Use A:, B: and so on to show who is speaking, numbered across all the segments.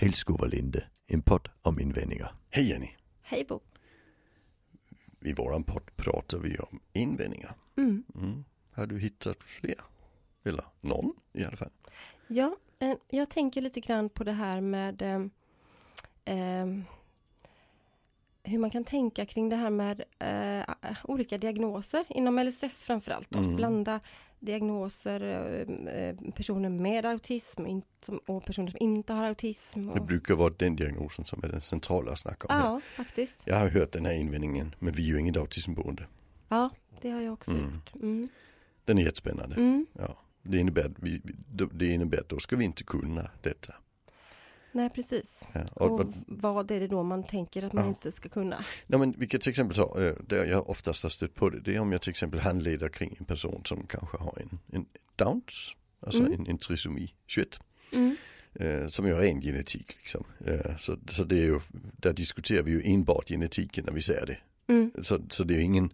A: Ilsko var Linde, en podd om invändningar.
B: Hej Jenny!
C: Hej Bo.
B: I våran podd pratar vi om invändningar. Mm. Har du hittat fler? Eller någon i alla fall?
C: Ja, eh, jag tänker lite grann på det här med ehm, ehm, hur man kan tänka kring det här med eh, olika diagnoser inom LSS framförallt. då.
B: Mm.
C: Att blanda diagnoser, eh, eh, personer med autism och in- som- och personer som inte har autism.
B: Det
C: Och,
B: brukar vara den diagnosen som är den centrala att snacka om.
C: ja, faktiskt.
B: Jag har hört den här invändningen, men vi är ju inget autismboende.
C: Ja, det har jag också
B: Mm.
C: gjort. Mm.
B: Den är jättespännande.
C: Mm.
B: Ja. Det, innebär att vi, det innebär att då ska vi inte kunna detta.
C: Nej, precis.
B: Ja. Och,
C: Och vad är det då man tänker att man
B: Ja.
C: inte ska kunna?
B: Nej, men vi kan till exempel ta, eh, där jag oftast har stött på det, det är om jag till exempel handleder kring en person som kanske har en, en Downs, alltså
C: Mm.
B: en, en trisomi 21,
C: Mm.
B: eh, som ju har ren genetik liksom. Eh, så, så det är ju, där diskuterar vi ju enbart genetiken när vi säger det.
C: Mm.
B: Så, så det är ju ingen,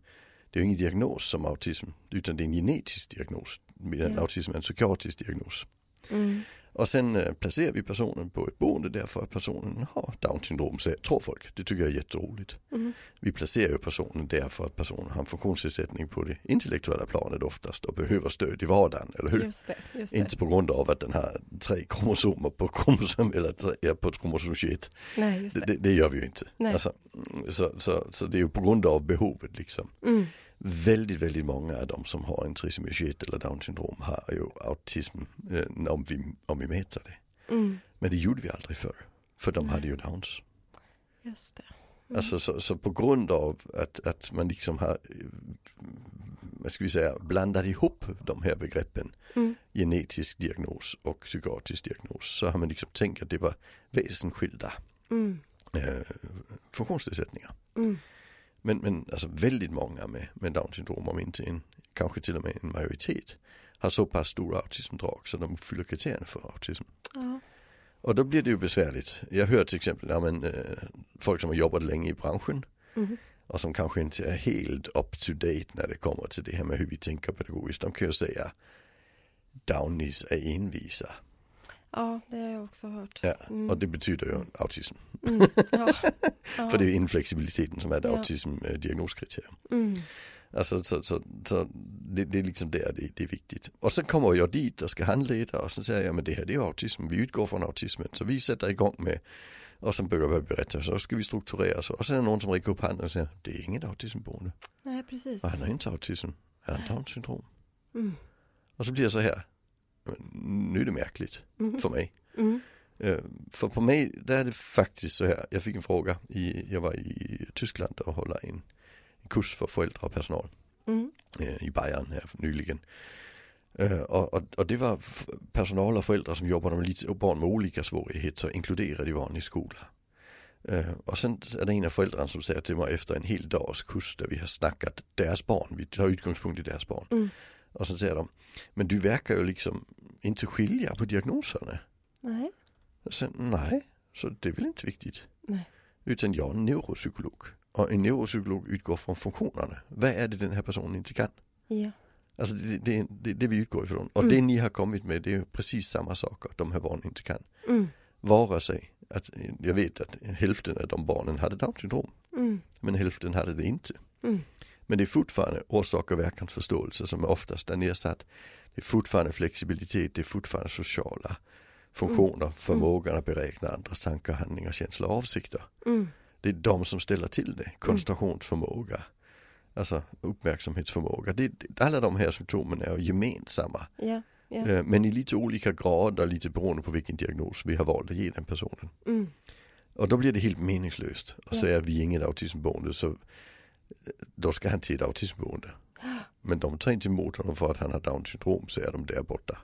B: det är ju ingen diagnos som autism, utan det är en genetisk diagnos, medan
C: Ja.
B: autism är en psykiatrisk diagnos.
C: Mm.
B: Och sen eh, placerar vi personen på ett boende därför att personen har Downs syndrom, så- tror folk. Det tycker jag är jätteroligt.
C: Mm.
B: Vi placerar ju personen därför att personen har en funktionsnedsättning på det intellektuella planet oftast och behöver stöd i vardagen, eller hur?
C: Just det, just det.
B: Inte på grund av att den har tre kromosomer på kromosom eller tre, ja, på kromosom 21.
C: Nej, just
B: Det,
C: det.
B: det, det gör vi ju inte.
C: Nej.
B: Alltså, mm, så, så, så det är ju på grund av behovet liksom.
C: Mm.
B: Väldigt, väldigt många av de som har en trisomi 21 eller Downs syndrom har ju autism eh, om, vi, om vi mäter det.
C: Mm.
B: Men det gjorde vi aldrig förr, för de hade ju Downs.
C: Just det.
B: Alltså så, så på grund av att, att man liksom har, eh, vad ska vi säga, blandat ihop de här begreppen,
C: Mm.
B: genetisk diagnos och psykiatrisk diagnos, så har man liksom tänkt att det var väsensskilda
C: Mm.
B: eh, funktionsnedsättningar.
C: Mm.
B: Men, men alltså väldigt många med, med Downs syndrom, om inte en, kanske till och med en majoritet, har så pass stora autismdrag så de uppfyller kriterierna för autism.
C: Ja.
B: Och då blir det ju besvärligt. Jag hör till exempel ja, men, eh, folk som har jobbat länge i branschen
C: Mm.
B: och som kanske inte är helt up to date när det kommer till det här med hur vi tänker pedagogiskt. De kan ju säga Downies är envisa.
C: ja, det har jag också hört.
B: Ja,
C: Mm.
B: Och det betyder ju autism.
C: Mm. Ja. Ja.
B: För det är ju inflexibiliteten som är ett
C: Ja.
B: autism-diagnoskriterium.
C: Mm.
B: Alltså, så, så, så det, det är liksom där det, det är viktigt. Och så kommer jag dit och ska handleda och så säger jag men det här det är ju autism, vi utgår från autismen. Så vi sätter igång med, och sen börjar jag berätta, så ska vi strukturera så. Och sen är det någon som räcker upp handen och säger det är inget autismboende.
C: Nej, precis.
B: Och han har inte autism, han har Downs syndrom.
C: Mm.
B: Och så blir jag så här, men nu är det märkligt
C: Mm.
B: för mig.
C: Mm.
B: Eh, För på mig, där är det faktiskt så här, jag fick en fråga, i, jag var i Tyskland och håller en, en kurs för föräldrar och personal
C: Mm.
B: eh, i Bayern här nyligen. Eh, Och, och, och det var f- personal och föräldrar som jobbade med lite, barn med olika svårigheter inkluderade i vanlig skola. Eh, Och sen är det en av föräldrarna som säger till mig efter en hel dags kurs där vi har snackat deras barn, vi tar utgångspunkt i deras barn.
C: Mm.
B: Och sen säger de, men du verkar ju liksom inte skilja på diagnoserna.
C: Nej.
B: Och Sen, nej, så det är väl inte viktigt.
C: Nej.
B: Utan jag är en neuropsykolog. Och en neuropsykolog utgår från funktionerna. Vad är det den här personen inte kan?
C: Ja.
B: Alltså det, det, det, det vi utgår ifrån. Och
C: Mm.
B: det ni har kommit med det är ju precis samma saker de här barnen inte kan.
C: Mm.
B: Vara sig att jag vet att hälften av de barnen hade Downs syndrom.
C: Mm.
B: Men hälften hade det inte.
C: Mm.
B: Men det är fortfarande orsak och verkansförståelse som är oftast är nedsatt. Det är fortfarande flexibilitet, det är fortfarande sociala
C: Mm.
B: funktioner, förmågan att beräkna andras tankar, handlingar, känslor och avsikter.
C: Mm.
B: Det är de som ställer till det. Koncentrationsförmåga, alltså uppmärksamhetsförmåga. Det, det- alla de här symptomen är ju gemensamma.
C: Ja. Ja.
B: Eh, Men i lite olika grader, lite beroende på vilken diagnos vi har valt att ge den personen.
C: Mm.
B: Och då blir det helt meningslöst att
C: Ja.
B: säga att vi är inget autismboende så eh, då ska han till ett autismboende. Men de tar inte emot honom för att han har Downs syndrom så är de där borta.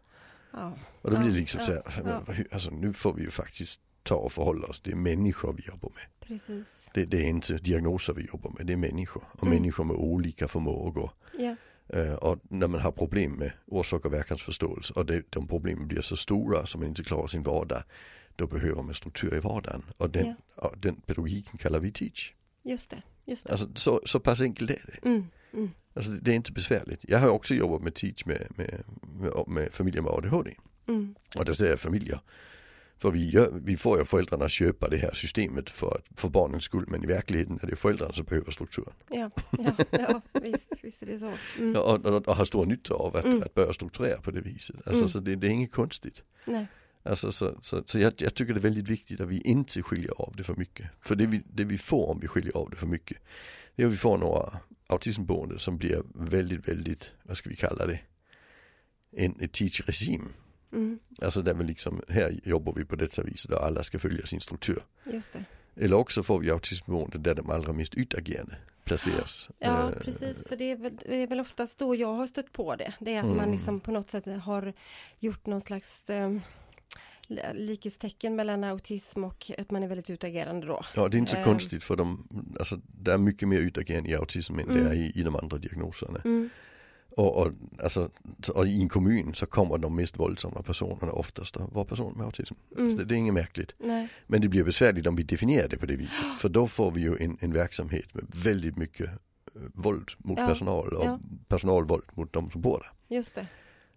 C: Ja.
B: Och då
C: Ja,
B: blir det liksom
C: ja,
B: så här,
C: ja.
B: men hur- alltså nu får vi ju faktiskt ta och förhålla oss, det är människor vi jobbar med.
C: Precis.
B: Det, det är inte diagnoser vi jobbar med, det är människor. Och
C: Mm.
B: människor med olika förmågor.
C: Ja.
B: Eh, Och när man har problem med orsak och verkansförståelse och det, de problemen blir så stora som man inte klarar sin vardag, då behöver man struktur i vardagen. Och den, och den pedagogiken kallar vi teach.
C: Just det. Just det.
B: Alltså, så, så pass enkelt är det.
C: Mm. Mm.
B: Alltså, det är inte besvärligt. Jag har också jobbat med teach med, med, med, med familjer med ADHD.
C: Mm.
B: Och där ser jag familjer För vi, gör, vi får ju föräldrarna att köpa det här systemet för, att, för barnens skull men i verkligheten är det föräldrarna som behöver strukturen.
C: Ja, ja, ja visst, visst är det så. Mm.
B: Ja, Och, och, och har stor nytta av att,
C: Mm.
B: att börja strukturera på det viset. Alltså,
C: Mm.
B: Så det, det är inget konstigt.
C: Nej.
B: Alltså, så så, så jag, jag tycker det är väldigt viktigt att vi inte skiljer av det för mycket. För det vi, det vi får om vi skiljer av det för mycket, det är att vi får några autismboende som blir väldigt, väldigt, vad ska vi kalla det, en ett teach-regim.
C: Mm.
B: Alltså där vi liksom, här jobbar vi på detta vis där alla ska följa sin struktur.
C: Just det.
B: Eller också får vi autismboende där de allra mest ytagerande placeras.
C: Ja,
B: Eh,
C: precis. För det är, väl, det är väl oftast då jag har stött på det. Det är att man
B: Mm.
C: liksom på något sätt har gjort någon slags eh, li- likhetstecken mellan autism och att man är väldigt utagerande då.
B: Ja, det är inte så
C: Ehm.
B: konstigt för de, alltså, det är mycket mer ytagerande i autism än det är
C: Mm.
B: i, i de andra diagnoserna.
C: Mm.
B: Och, och, alltså, så- och i en kommun så kommer de mest våldsamma personerna oftast att vara personer med autism. Så Alltså, det,
C: Mm.
B: det är inget märkligt.
C: Nej.
B: Men det blir besvärligt om vi definierar det på det viset. För då får vi ju en, en verksamhet med väldigt mycket eh, våld mot
C: Ja,
B: personal och
C: ja.
B: personalvåld mot de som bor där.
C: Just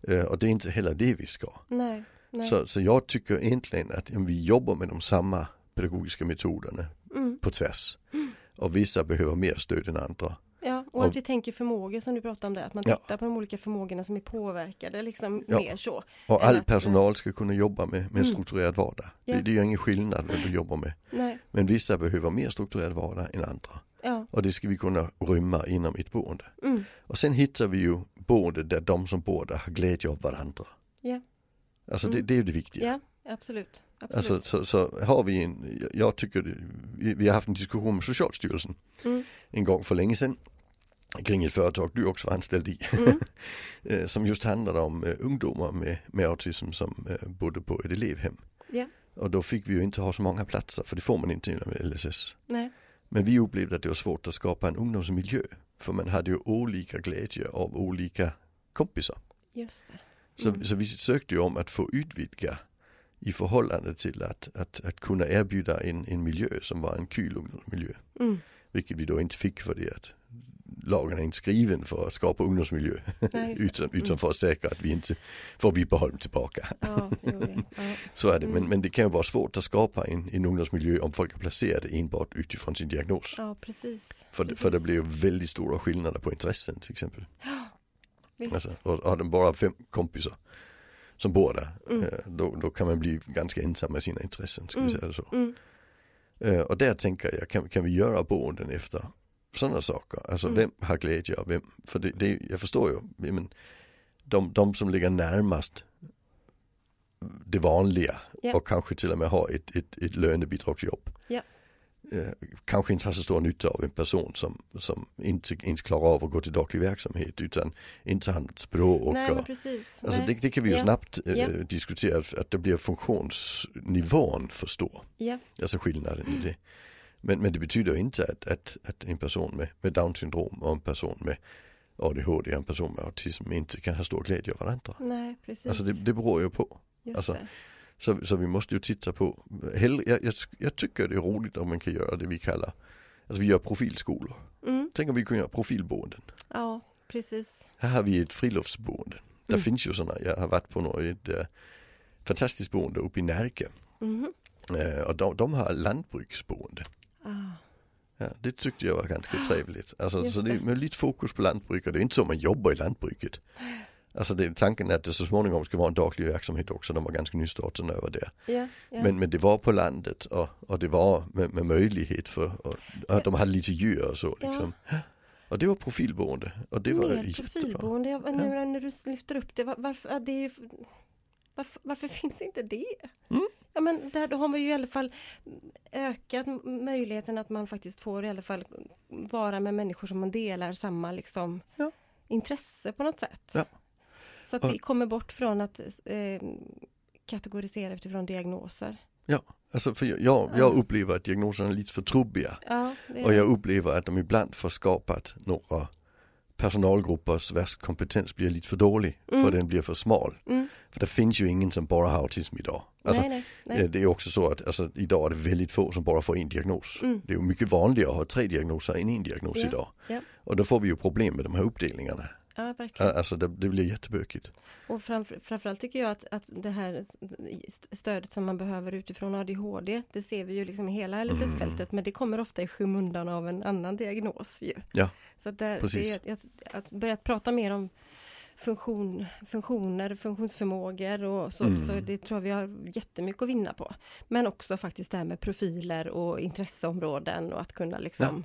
C: det.
B: Eh, Och det är inte heller det vi ska.
C: Nej. Nej.
B: Så, så jag tycker egentligen att om vi jobbar med de samma pedagogiska metoderna
C: Mm.
B: på tvärs. Och vissa behöver mer stöd än andra.
C: Ja, och,
B: Och-
C: att vi tänker förmågor som du pratade om där. Att man
B: Ja.
C: tittar på de olika förmågorna som är påverkade liksom
B: Ja.
C: mer så.
B: Och
C: Eller
B: all
C: att-
B: personal ska kunna jobba med, med en
C: Mm.
B: strukturerad vardag.
C: Ja.
B: Det, det gör ingen skillnad vad du jobbar med.
C: Nej.
B: Men vissa behöver mer strukturerad vardag än andra.
C: Ja.
B: Och det ska vi kunna rymma inom ett boende.
C: Mm.
B: Och sen hittar vi ju boende där de som bor där har glädje av varandra.
C: Ja.
B: Alltså det,
C: Mm.
B: det är ju det viktiga.
C: Ja, absolut. absolut.
B: Alltså, så, så har vi en, jag- jag tycker, det- vi, vi har haft en diskussion med Socialstyrelsen
C: Mm.
B: en gång för länge sedan kring ett företag du också var anställd i.
C: Mm.
B: eh, som just handlade om eh, ungdomar med, med autism som eh, bodde på ett elevhem.
C: Ja.
B: Och då fick vi ju inte ha så många platser för det får man inte inom LSS.
C: Nej.
B: Men vi upplevde att det var svårt att skapa en ungdomsmiljö för man hade ju olika glädje av olika kompisar.
C: Just det.
B: Så,
C: Mm.
B: så vi sökte ju om att få utvidga i förhållande till att, att, att kunna erbjuda en, en miljö som var en kul ungdomsmiljö.
C: Mm.
B: Vilket vi då inte fick för det att lagen är inte skriven för att skapa ungdomsmiljö
C: Nej, just det.
B: utan,
C: Mm.
B: utan för att säkra att vi inte får Vipeholm tillbaka.
C: Ja, jo, det. Ja.
B: Så är det, men,
C: Mm.
B: men det kan ju vara svårt att skapa en, en ungdomsmiljö om folk är placerade enbart utifrån sin diagnos.
C: ja, precis.
B: För, det-
C: precis.
B: för det blir ju väldigt stora skillnader på intressen till exempel.
C: Visst.
B: Alltså, och har den bara fem kompisar som bor där,
C: Mm.
B: eh, då, då kan man bli ganska ensam med sina intressen. Ska vi
C: Mm.
B: säga det så.
C: Mm.
B: Eh, Och där tänker jag, kan, kan vi göra boenden efter sådana saker? Alltså
C: Mm.
B: vem har glädje av vem? För det, det, jag förstår ju, ja, men, de, de som ligger närmast det vanliga
C: Ja.
B: och kanske till och med har ett, ett, ett lönebidragsjobb.
C: Ja.
B: Eh, kanske inte har så stor nytta av en person som, som inte ens klarar av att gå till daglig verksamhet utan inte har något språk. och,
C: Nej, men precis.
B: alltså, det,
C: Nej.
B: det kan vi ju
C: Ja.
B: snabbt eh,
C: Ja.
B: diskutera att- att det blir funktionsnivån för stor.
C: Ja,
B: Alltså skillnaden
C: Mm.
B: i det. Men, men det betyder ju inte att, att, att en person med, med down syndrom och en person med ADHD och en person med autism inte kan ha stor glädje av varandra.
C: nej, precis.
B: Alltså det, det beror ju på.
C: Just
B: alltså,
C: det.
B: Så, så vi måste ju titta på, hell, jag, jag, jag tycker det är roligt om man kan göra det vi kallar, alltså vi gör profilskolor.
C: Mm.
B: Tänk om vi kunde göra profilboenden.
C: Ja, precis.
B: Här har vi ett friluftsboende. Där
C: Mm.
B: finns ju sådana, jag har varit på något, ett eh, fantastiskt boende uppe i Närke.
C: Mhm.
B: Eh, och de, de har lantbruksboende.
C: Ah.
B: Ja, det tyckte jag var ganska trevligt. Alltså,
C: Just
B: så det är
C: det.
B: med lite fokus på lantbruk och det är inte så man jobbar i lantbruket. Alltså det är tanken att det så småningom ska vara en daglig verksamhet också. De var ganska nystartade när jag var där.
C: Ja, ja.
B: Men, men det var på landet och, och det var med, med möjlighet för, och, och de hade lite djur och så
C: Ja.
B: liksom. Och det var profilboende och det var
C: Mer
B: jättebra.
C: profilboende, jag, nu när du lyfter upp det, var- varför, ja, det är ju, varför, varför finns inte det?
B: Mm.
C: Ja men där då har man ju i alla fall ökat m- möjligheten att man faktiskt får i alla fall vara med människor som man delar samma liksom
B: Ja.
C: intresse på något sätt.
B: Ja.
C: Så att
B: Och-
C: vi kommer bort från att eh, kategorisera utifrån diagnoser.
B: Alltså för jag, jag, jag upplever att diagnoserna är lite för trubbiga.
C: Ja, det
B: Och jag upplever att de ibland får skapat några personalgruppers vars kompetens blir lite för dålig.
C: Mm.
B: För den blir för smal.
C: mm.
B: För det finns ju ingen som bara har autism idag. Alltså,
C: nej, nej, nej.
B: eh, Det är också så att alltså, idag är det väldigt få som bara får en diagnos.
C: Mm.
B: Det är ju mycket vanligare att ha tre diagnoser än en diagnos
C: Ja,
B: idag.
C: ja.
B: Och då får vi ju problem med de här uppdelningarna.
C: Ja, verkligen.
B: Alltså det, det blir jättebökigt.
C: Och framför, framförallt tycker jag att, att det här st- stödet som man behöver utifrån ADHD, det ser vi ju liksom i hela LSS-fältet,
B: Mm.
C: men det kommer ofta i skymundan av en annan diagnos ju.
B: Ja,
C: Så att, där,
B: Precis.
C: det, är att, att börja prata mer om funktion, funktioner, funktionsförmågor och så,
B: Mm.
C: så det tror jag vi har jättemycket att vinna på. Men också faktiskt det här med profiler och intresseområden och att kunna liksom,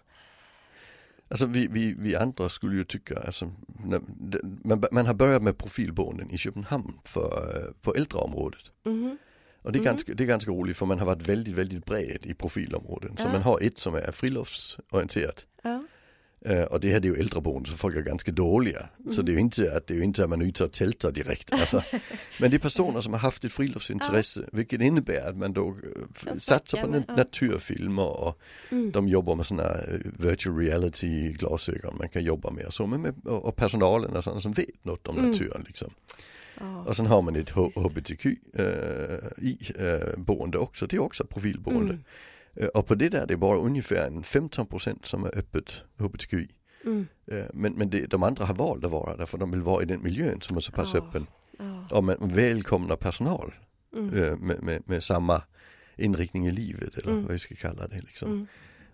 B: Alltså vi, vi, vi andra skulle ju tycka, alltså, när, det, man, man har börjat med profilboenden i Köpenhamn för, eh, på äldreområdet.
C: Mhm.
B: Och det är,
C: Mhm.
B: ganska, det är ganska roligt för man har varit väldigt, väldigt bred i profilområden. Så
C: Ja.
B: man har ett som är friluftsorienterat.
C: ja,
B: Eh, och det här det är ju äldreboende så folk är ganska dåliga. Så
C: Mhm.
B: det är ju inte att, det är ju inte att man är ute och tältar direkt. Alltså. Men det är personer som har haft ett friluftsintresse
C: Ah.
B: vilket innebär att man då eh, f-
C: Jag
B: satsar på
C: snackar med-
B: nat-
C: ja.
B: naturfilmer och
C: Mm.
B: de jobbar med sådana virtual reality glasögon man kan jobba med och så. Men med, och och personalen är sådana som vet något om
C: Mm.
B: naturen liksom.
C: ja.
B: Och sen har man ett
C: Precis.
B: eh, HBTQI-boende också, det är också ett profilboende.
C: Mm.
B: Eh, Och på det där, det är bara ungefär en 15% som är öppet HBTQI.
C: Mm.
B: Eh, Men, men det, de andra har valt att vara där för de vill vara i den miljön som är så pass
C: Ja.
B: öppen.
C: Ja.
B: Och man välkomnar personal
C: Mm.
B: eh, med, med, med samma inriktning i livet eller
C: Mm.
B: vad vi ska kalla det. Liksom.
C: Mm.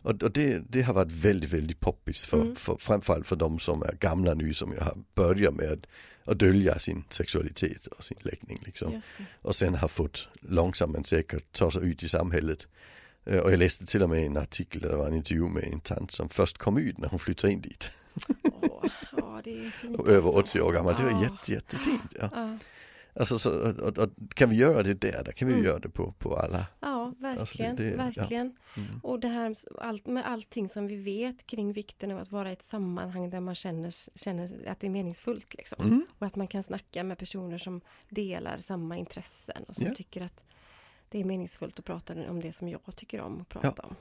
B: Och, och det, det har varit väldigt, väldigt poppis för,
C: Mm.
B: för, framförallt för de som är gamla nu som jag har börjat med att, att dölja sin sexualitet och sin läggning. Liksom
C: Just det.
B: och sen har fått långsamt men säkert ta sig ut i samhället. Eh, Och jag läste till och med en artikel där det var en intervju med en tant som först kom ut när hon flyttade in dit.
C: Åh, ja, det är fint.
B: Och över
C: alltså.
B: 80 år gammal. Det var
C: Ja.
B: jätte, jättefint. Ja.
C: Ja,
B: Alltså, så, och, och, kan vi göra det där, då kan vi
C: Mm.
B: göra det på, på alla.
C: ja verkligen.
B: Alltså, det- ja.
C: verkligen.
B: Mm.
C: Och det här allt, med allting som vi vet kring vikten av att vara i ett sammanhang där man känner, känner att det är meningsfullt. Liksom.
B: Mm.
C: Och att man kan snacka med personer som delar samma intressen och som
B: Ja.
C: tycker att det är meningsfullt att prata om det som jag tycker om att prata om.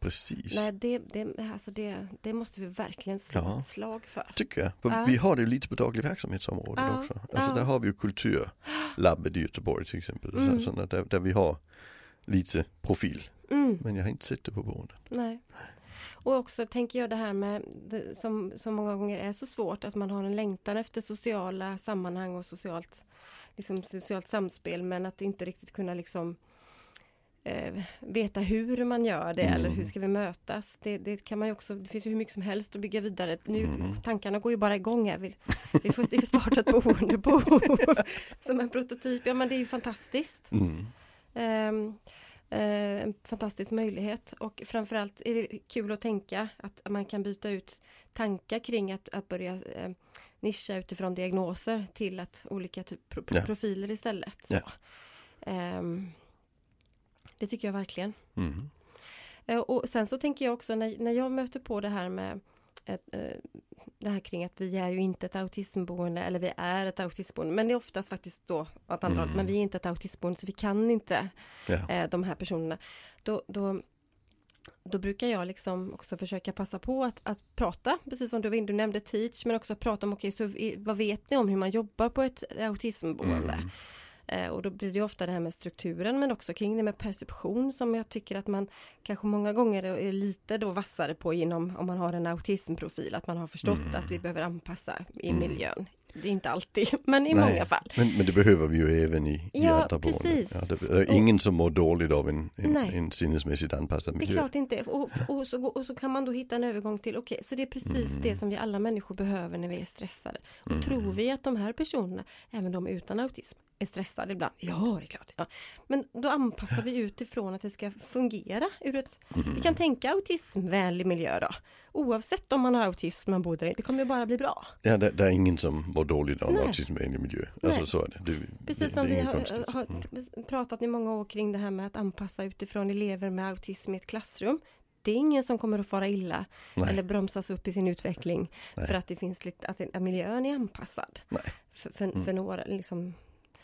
B: Precis,
C: Nej, det, det, alltså det, det måste vi verkligen slå
B: Ja.
C: ett slag för.
B: tycker jag. För
C: Ja.
B: Vi har det ju lite på daglig verksamhetsområdet
C: Ja.
B: också. Alltså,
C: Ja.
B: Där har vi ju Kulturlabbet i Göteborg till exempel.
C: Mm.
B: Så, sådana där, där vi har lite profil.
C: Mm.
B: Men jag har inte sett det på boendet.
C: Nej. Och också tänker jag det här med det, som, som många gånger är så svårt att man har en längtan efter sociala sammanhang och socialt, liksom socialt samspel men att inte riktigt kunna liksom eh, veta hur man gör det
B: Mm.
C: eller hur ska vi mötas. Det, det kan man ju också, det finns ju hur mycket som helst att bygga vidare. Nu,
B: Mm.
C: Tankarna går ju bara igång här. Vi, vi, får, vi får starta ett boende på, som en prototyp. Ja men det är ju fantastiskt.
B: Mm.
C: Ehm, eh, en fantastisk möjlighet och framförallt är det kul att tänka att man kan byta ut tankar kring att, att börja eh, nischa utifrån diagnoser till att olika typ pro- pro-
B: Ja.
C: profiler istället. Så.
B: Ja.
C: Ehm, det tycker jag verkligen.
B: Mm.
C: Eh, Och sen så tänker jag också när, när jag möter på det här med ett, eh, det här kring att vi är ju inte ett autismboende eller vi är ett autismboende men det är oftast faktiskt då åt andra
B: Mm.
C: hållet, men vi är inte ett autismboende så vi kan inte
B: Ja.
C: eh, de här personerna. Då, då, då brukar jag liksom också försöka passa på att, att prata, precis som du, var inne- du nämnde teach, men också prata om okej, så i- vad vet ni om hur man jobbar på ett autismboende?
B: Mm.
C: Eh, Och då blir det ju ofta det här med strukturen men också kring det med perception som jag tycker att man kanske många gånger är lite då vassare på inom om man har en autismprofil att man har förstått att vi behöver anpassa i
B: Mm.
C: miljön. Det är inte alltid men i
B: Nej.
C: många fall.
B: Men, men det behöver vi ju även i, i
C: Ja,
B: andra boenden.
C: precis.
B: Ja, det, det är ingen som mår dåligt av en, en,
C: Nej.
B: en sinnesmässigt anpassad
C: Det är
B: miljö.
C: klart inte. Och, och, så, och så kan man då hitta en övergång till, okej, så det är precis
B: Mm.
C: det som vi alla människor behöver när vi är stressade. Och tror vi att de här personerna, även de utan autism, är stressade ibland? Ja, det är klart. Ja. Men då anpassar vi utifrån att det ska fungera. Ur ett,
B: Mm.
C: Vi kan tänka autismvänlig miljö då. Oavsett om man har autism man bor där, i, det kommer ju bara bli bra.
B: Ja, det, det är ingen som mår dåligt av en
C: Nej.
B: autismvänlig miljö. Alltså
C: Nej.
B: så är det. det
C: Precis
B: det,
C: som
B: det är
C: vi
B: inget
C: har, eh,
B: konstigt.
C: har
B: Mm.
C: pratat i många år kring det här med att anpassa utifrån elever med autism i ett klassrum. Det är ingen som kommer att fara illa
B: Nej.
C: eller bromsas upp i sin utveckling
B: Nej.
C: för att, det finns lite, att, att miljön är anpassad.
B: Nej. Mm.
C: För, för, för några, liksom,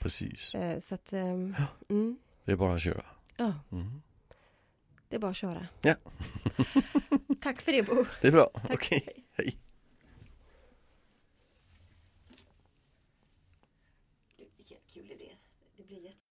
B: Precis,
C: eh, så att, ehm, mm,
B: det är bara att köra.
C: ja,
B: Mm.
C: det är bara att köra.
B: Ja.
C: Tack för det Bo.
B: Det är bra,
C: Tack.
B: okej. Hej.
C: Vilken kul idé. Det blir